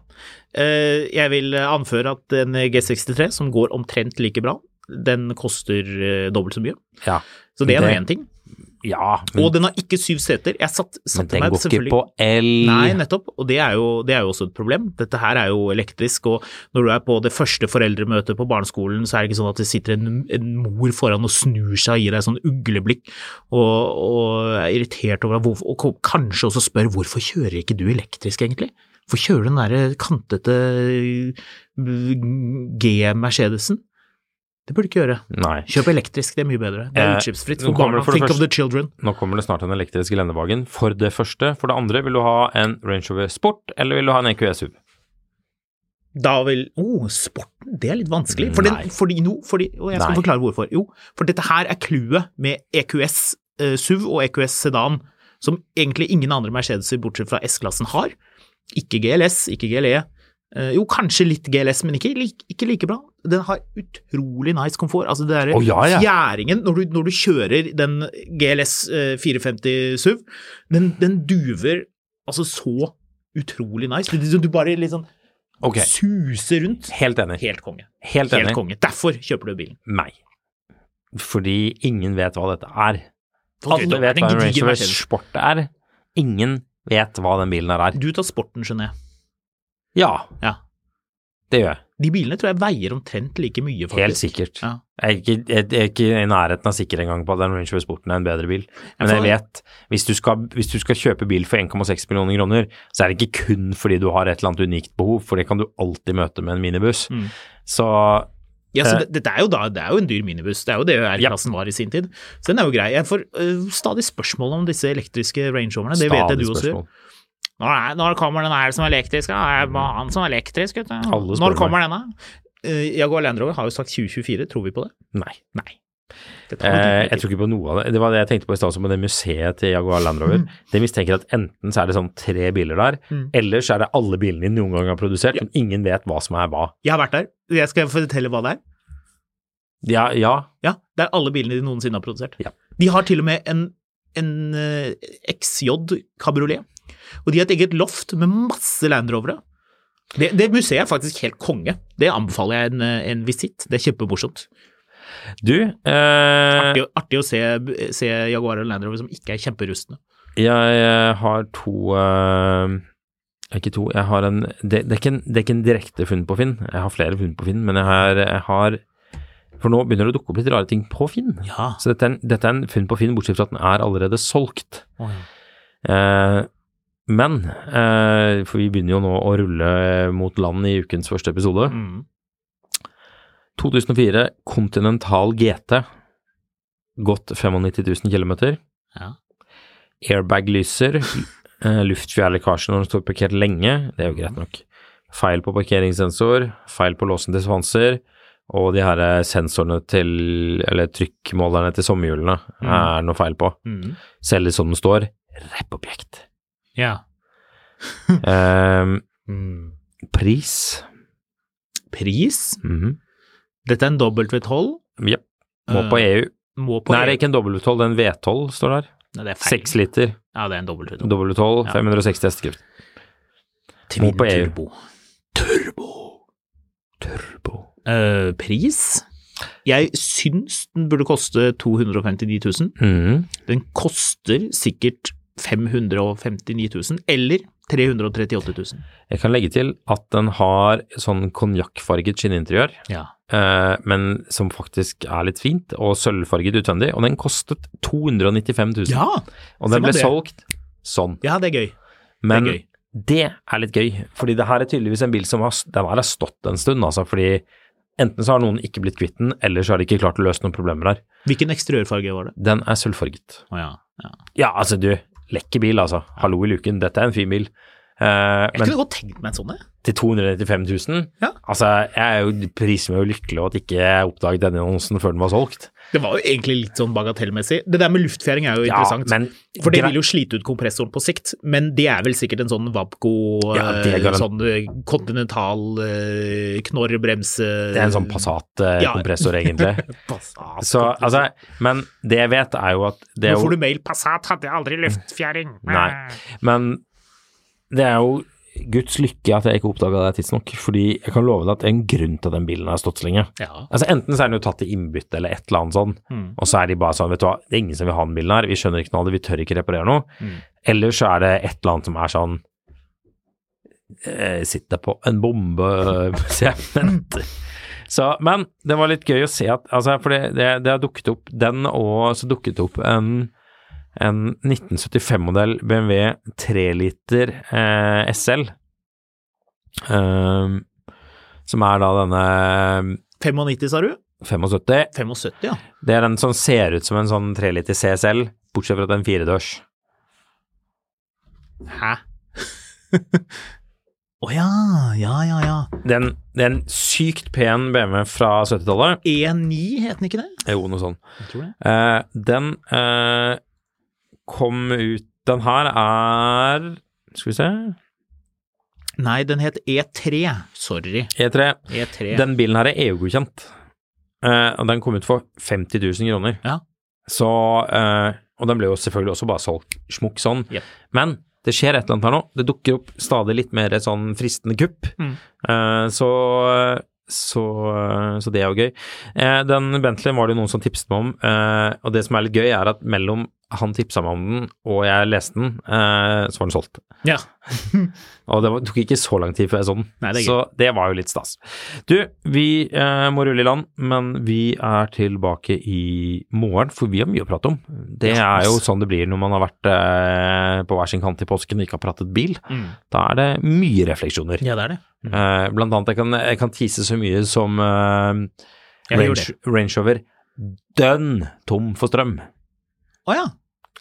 Eh, Jeg vil anføre at en G63 som går omtrent like bra, den koster eh, dobbelt så mye. Ja. Så det er nå Det- én ting. Ja, men, Og den har ikke syv seter. Jeg satt, men satte den meg går ikke selvfølgelig på el. Nei, nettopp, og det er, jo, det er jo også et problem. Dette her er jo elektrisk, og når du er på det første foreldremøtet på barneskolen, så er det ikke sånn at det sitter en, en mor foran og snur seg og gir deg sånn ugleblikk, og, og er irritert over hvorfor, og ko- kanskje også spør hvorfor kjører ikke du elektrisk egentlig? Hvorfor kjører du den der eh, kantete G-Mercedesen? Det burde du ikke gjøre. Nei. Kjøp elektrisk, det er mye bedre. Det er Eh, utslippsfritt nå for kommer barna. det for det Think of første- the children. Nå kommer det snart en elektrisk gelendevagen, for det første. For det andre, vil du ha en Range Rover Sport, eller vil du ha en E EQE SUV? Da vil oh, sporten, det er litt vanskelig. For Nei. den, fordi no, fordi, og jeg skal Nei. forklare hvorfor. Jo, for dette her er clouet med EQS eh, SUV og EQS Sedan, som egentlig ingen andre Mercedeser bortsett fra S-klassen har. Ikke GLS, ikke GLE. Eh, jo, kanskje litt GLS, men ikke, like- ikke like bra. Den har utrolig nice komfort. Altså, det derre Å, ja, ja. fjæringen når du, når du kjører den GLS eh, 450 SUV, den, den duver altså så utrolig nice. Du, du bare litt sånn Ok, suser rundt. helt enig. Helt konge. Helt Helt enig. konge. Derfor kjøper du bilen. Nei. Fordi ingen vet hva dette er. Folk Alle vet vet det er hva en en Range gedigen Rover Mercedes. Sport er. Ingen vet hva den bilen her er. Du tar sporten, skjønner jeg. Ja, Ja. det gjør jeg. De bilene tror jeg veier omtrent like mye, faktisk. Helt sikkert. Ja. Jeg er, ikke, jeg jeg er ikke i nærheten av sikker engang på at den Range Rover Sporten er en bedre bil. Men jeg for- vet, hvis du skal, hvis du skal kjøpe bil for 1,6 millioner kroner, så er det ikke kun fordi du har et eller annet unikt behov, for det kan du alltid møte med en minibuss. Mm. Så Ja, Eh. så det, dette er jo da, det er jo en dyr minibuss. Det er jo det R-klassen var i sin tid. Så den er jo grei. Jeg får øh, stadig spørsmål om disse elektriske Range Roverne. Det vet jeg du også spørsmål. gjør. Når, når kommer den her som er elektrisk? Ja, det er bare han som er elektrisk, vet du. Alle spør Når meg. kommer denne? Uh, Jaguar Land Rover har jo sagt 2024. Tror vi på det? Nei. Nei. Det tar Eh, jeg litt tid. tror ikke på noe av det. Det var det jeg tenkte på i stad, som med det museet til Jaguar Land Rover. Det mistenker at enten så er det sånn tre biler der, eller så er det alle bilene de noen gang har produsert, som ingen vet hva som er hva. Jeg har vært der. Jeg skal fortelle hva det er. Ja, ja, Ja, det er alle bilene de noensinne har produsert. Ja. De har til og med en, en eh, XJ kabriolet, og de har et eget loft med masse Land Rovere. Det, det museet er faktisk helt konge. Det anbefaler jeg en, eh, en visitt. Det er kjempemorsomt. Du, eh, Artig, å- artig å se, se Jaguar og Land Rover som ikke er kjemperustne. Jeg eh, har to eh, Ikke to, jeg har en det, det, er ikke en det er ikke en direkte funn på Finn. Jeg har flere funn på Finn, men jeg har, jeg har For nå begynner det å dukke opp litt rare ting på Finn. Ja. Så dette er, en, dette er en funn på Finn, bortsett fra at den er allerede solgt. Eh, men eh, For vi begynner jo nå å rulle mot land i ukens første episode. Mm. 2004 Continental GT. Gått 95 000 km. Ja. Airbag-lyser. eh, Luftfjærlekkasje når den står parkert lenge. Det er jo greit nok. Feil på parkeringssensor. Feil på låsen til svanser. Og de her eh, sensorene til Eller trykkmålerne til sommerhjulene er noe feil på. Mm. Selges som den står. Rappobjekt. ja. Eh, Mm. pris. Pris? Mhm. Dette er en W12. Jepp. Må på Eh, EU. Må på E Nei, det er ikke en W12, det er en V12 står der. Nei, det er feil. Seks liter. Ja, det er en W12. W12, Ja. 560 hestekraft. Twin Må på E EU. Turbo. Turbo. Eh, pris? Jeg syns den burde koste 259 000. Mhm. Den koster sikkert 559 000, eller 338 000. Jeg kan legge til at den har sånn konjakkfarget skinninteriør, Ja. eh, men som faktisk er litt fint, og sølvfarget utvendig, og den kostet 295 000. ja! og den ser man ble det. solgt sånn. det er gøy. Men det er gøy. det er litt gøy, fordi det her er tydeligvis en bil som har, den her har stått en stund, altså, fordi enten så har noen ikke blitt kvitt den, eller så har de ikke klart å løse noen problemer her. Hvilken eksteriørfarge var det? Den er sølvfarget. Å ja. ja. Ja, altså du, Lekker bil, altså. Hallo i luken, dette er en fin bil. Eh, Jeg men kunne godt tenkt meg en sånn, jeg. til 295 000 Ja. Altså, jeg er jo, priser meg jo lykkelig over at ikke jeg oppdaget denne annonsen før den var solgt. Det var jo egentlig litt sånn bagatellmessig. Det der med luftfjæring er jo Ja, interessant. men- for det gra- vil jo slite ut kompressoren på sikt, men det er vel sikkert en sånn Wabco Ja, det er eh, garan- sånn eh, kontinental eh, knorrbrems eh, Det er en sånn Ja. Passat-kompressor, (laughs) egentlig. Passat. Så, altså, men det jeg vet, er jo at det er Nå jo får du mail 'Passat hadde aldri Eh, luftfjæring'. (laughs) Nei. Men det er jo Guds lykke at jeg ikke oppdaga det tidsnok, fordi jeg kan love deg at det er en grunn til at den bilen har stått så lenge. Ja. Altså Enten så er den jo tatt i innbytte eller et eller annet sånn, Mm. og så er de bare sånn, vet du hva, det er ingen som vil ha den bilen her, vi skjønner ikke noe av det, vi tør ikke reparere noe. Eller så er det et eller annet som er sånn eh, Sitter på en bombe, (laughs) sier jeg. Men- Så, men det var litt gøy å se at altså, For det, det, det har dukket opp den, og så dukket det opp en en 1975-modell BMW 3-liter eh, SL. Ehm, som er da denne eh, 95, sa du? 75. 75, ja. Det er den som ser ut som en sånn 3-liter CSL, bortsett fra at den firedørs. Hæ? (laughs) Å ja, ja, ja, ja. Det er en- det er en sykt pen BMW fra 70-tallet. E9 E het den ikke det? Jo, noe sånt. Jeg tror det. Eh, den eh, kom ut Den her er Skal vi se Nei, den het E3. Sorry. E3. E3. Den bilen her er EU-godkjent, eh, og den kom ut for 50 000 kroner. Ja. Så, eh, og den ble jo selvfølgelig også bare solgt smukk sånn. Jep. Men det skjer et eller annet her nå. Det dukker opp stadig litt mer et sånn fristende kupp. Mm. Eh, så, så, så det er jo gøy. Eh, den Bentleyen var det jo noen som tipset meg om, eh, og det som er litt gøy, er at mellom han tipsa meg om den, og jeg leste den, eh, så var den solgt. Ja. Og det var, tok ikke så lang tid før jeg så den. Nei, det er så det var jo litt stas. Du, vi eh, må rulle i land, men vi er tilbake i morgen, for vi har mye å prate om. Det er jo sånn det blir når man har vært eh, på hver sin kant i påsken og ikke har pratet bil. Da er det mye refleksjoner. Mm. ja, det er det. Eh, blant annet, jeg kan, jeg kan tise så mye som eh, Jeg gjorde Range, Range Rover dønn tom for strøm. Å ja.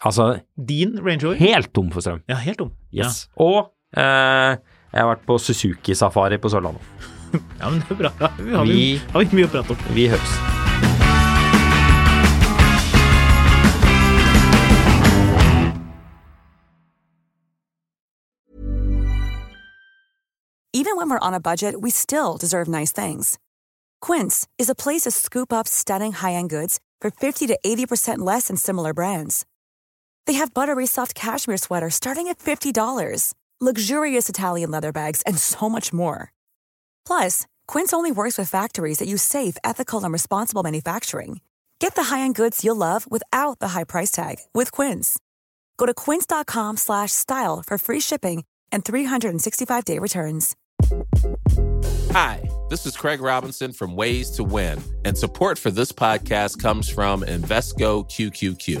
Altså Mm. Din Range Rover? helt tom for strøm. Ja, helt tom. Yes. Og eh, jeg har vært på Suzuki-safari på Sørlandet. Ja. ja, men det er bra. (laughs) Vi har, Vi- vi har mye å prate om. Vi høres. Even when we're on a budget, we still deserve nice things. Quince is a place to scoop up stunning high-end goods for 50 to 80% less than similar brands. They have buttery soft cashmere sweaters starting at $50, luxurious Italian leather bags, and so much more. Plus, Quince only works with factories that use safe, ethical, and responsible manufacturing. Get the high-end goods you'll love without the high price tag with Quince. Go to quince.com/style slash style for free shipping and 365-day returns. Hi, this is Craig Robinson from Ways to Win, and support for this podcast comes from Invesco QQQ.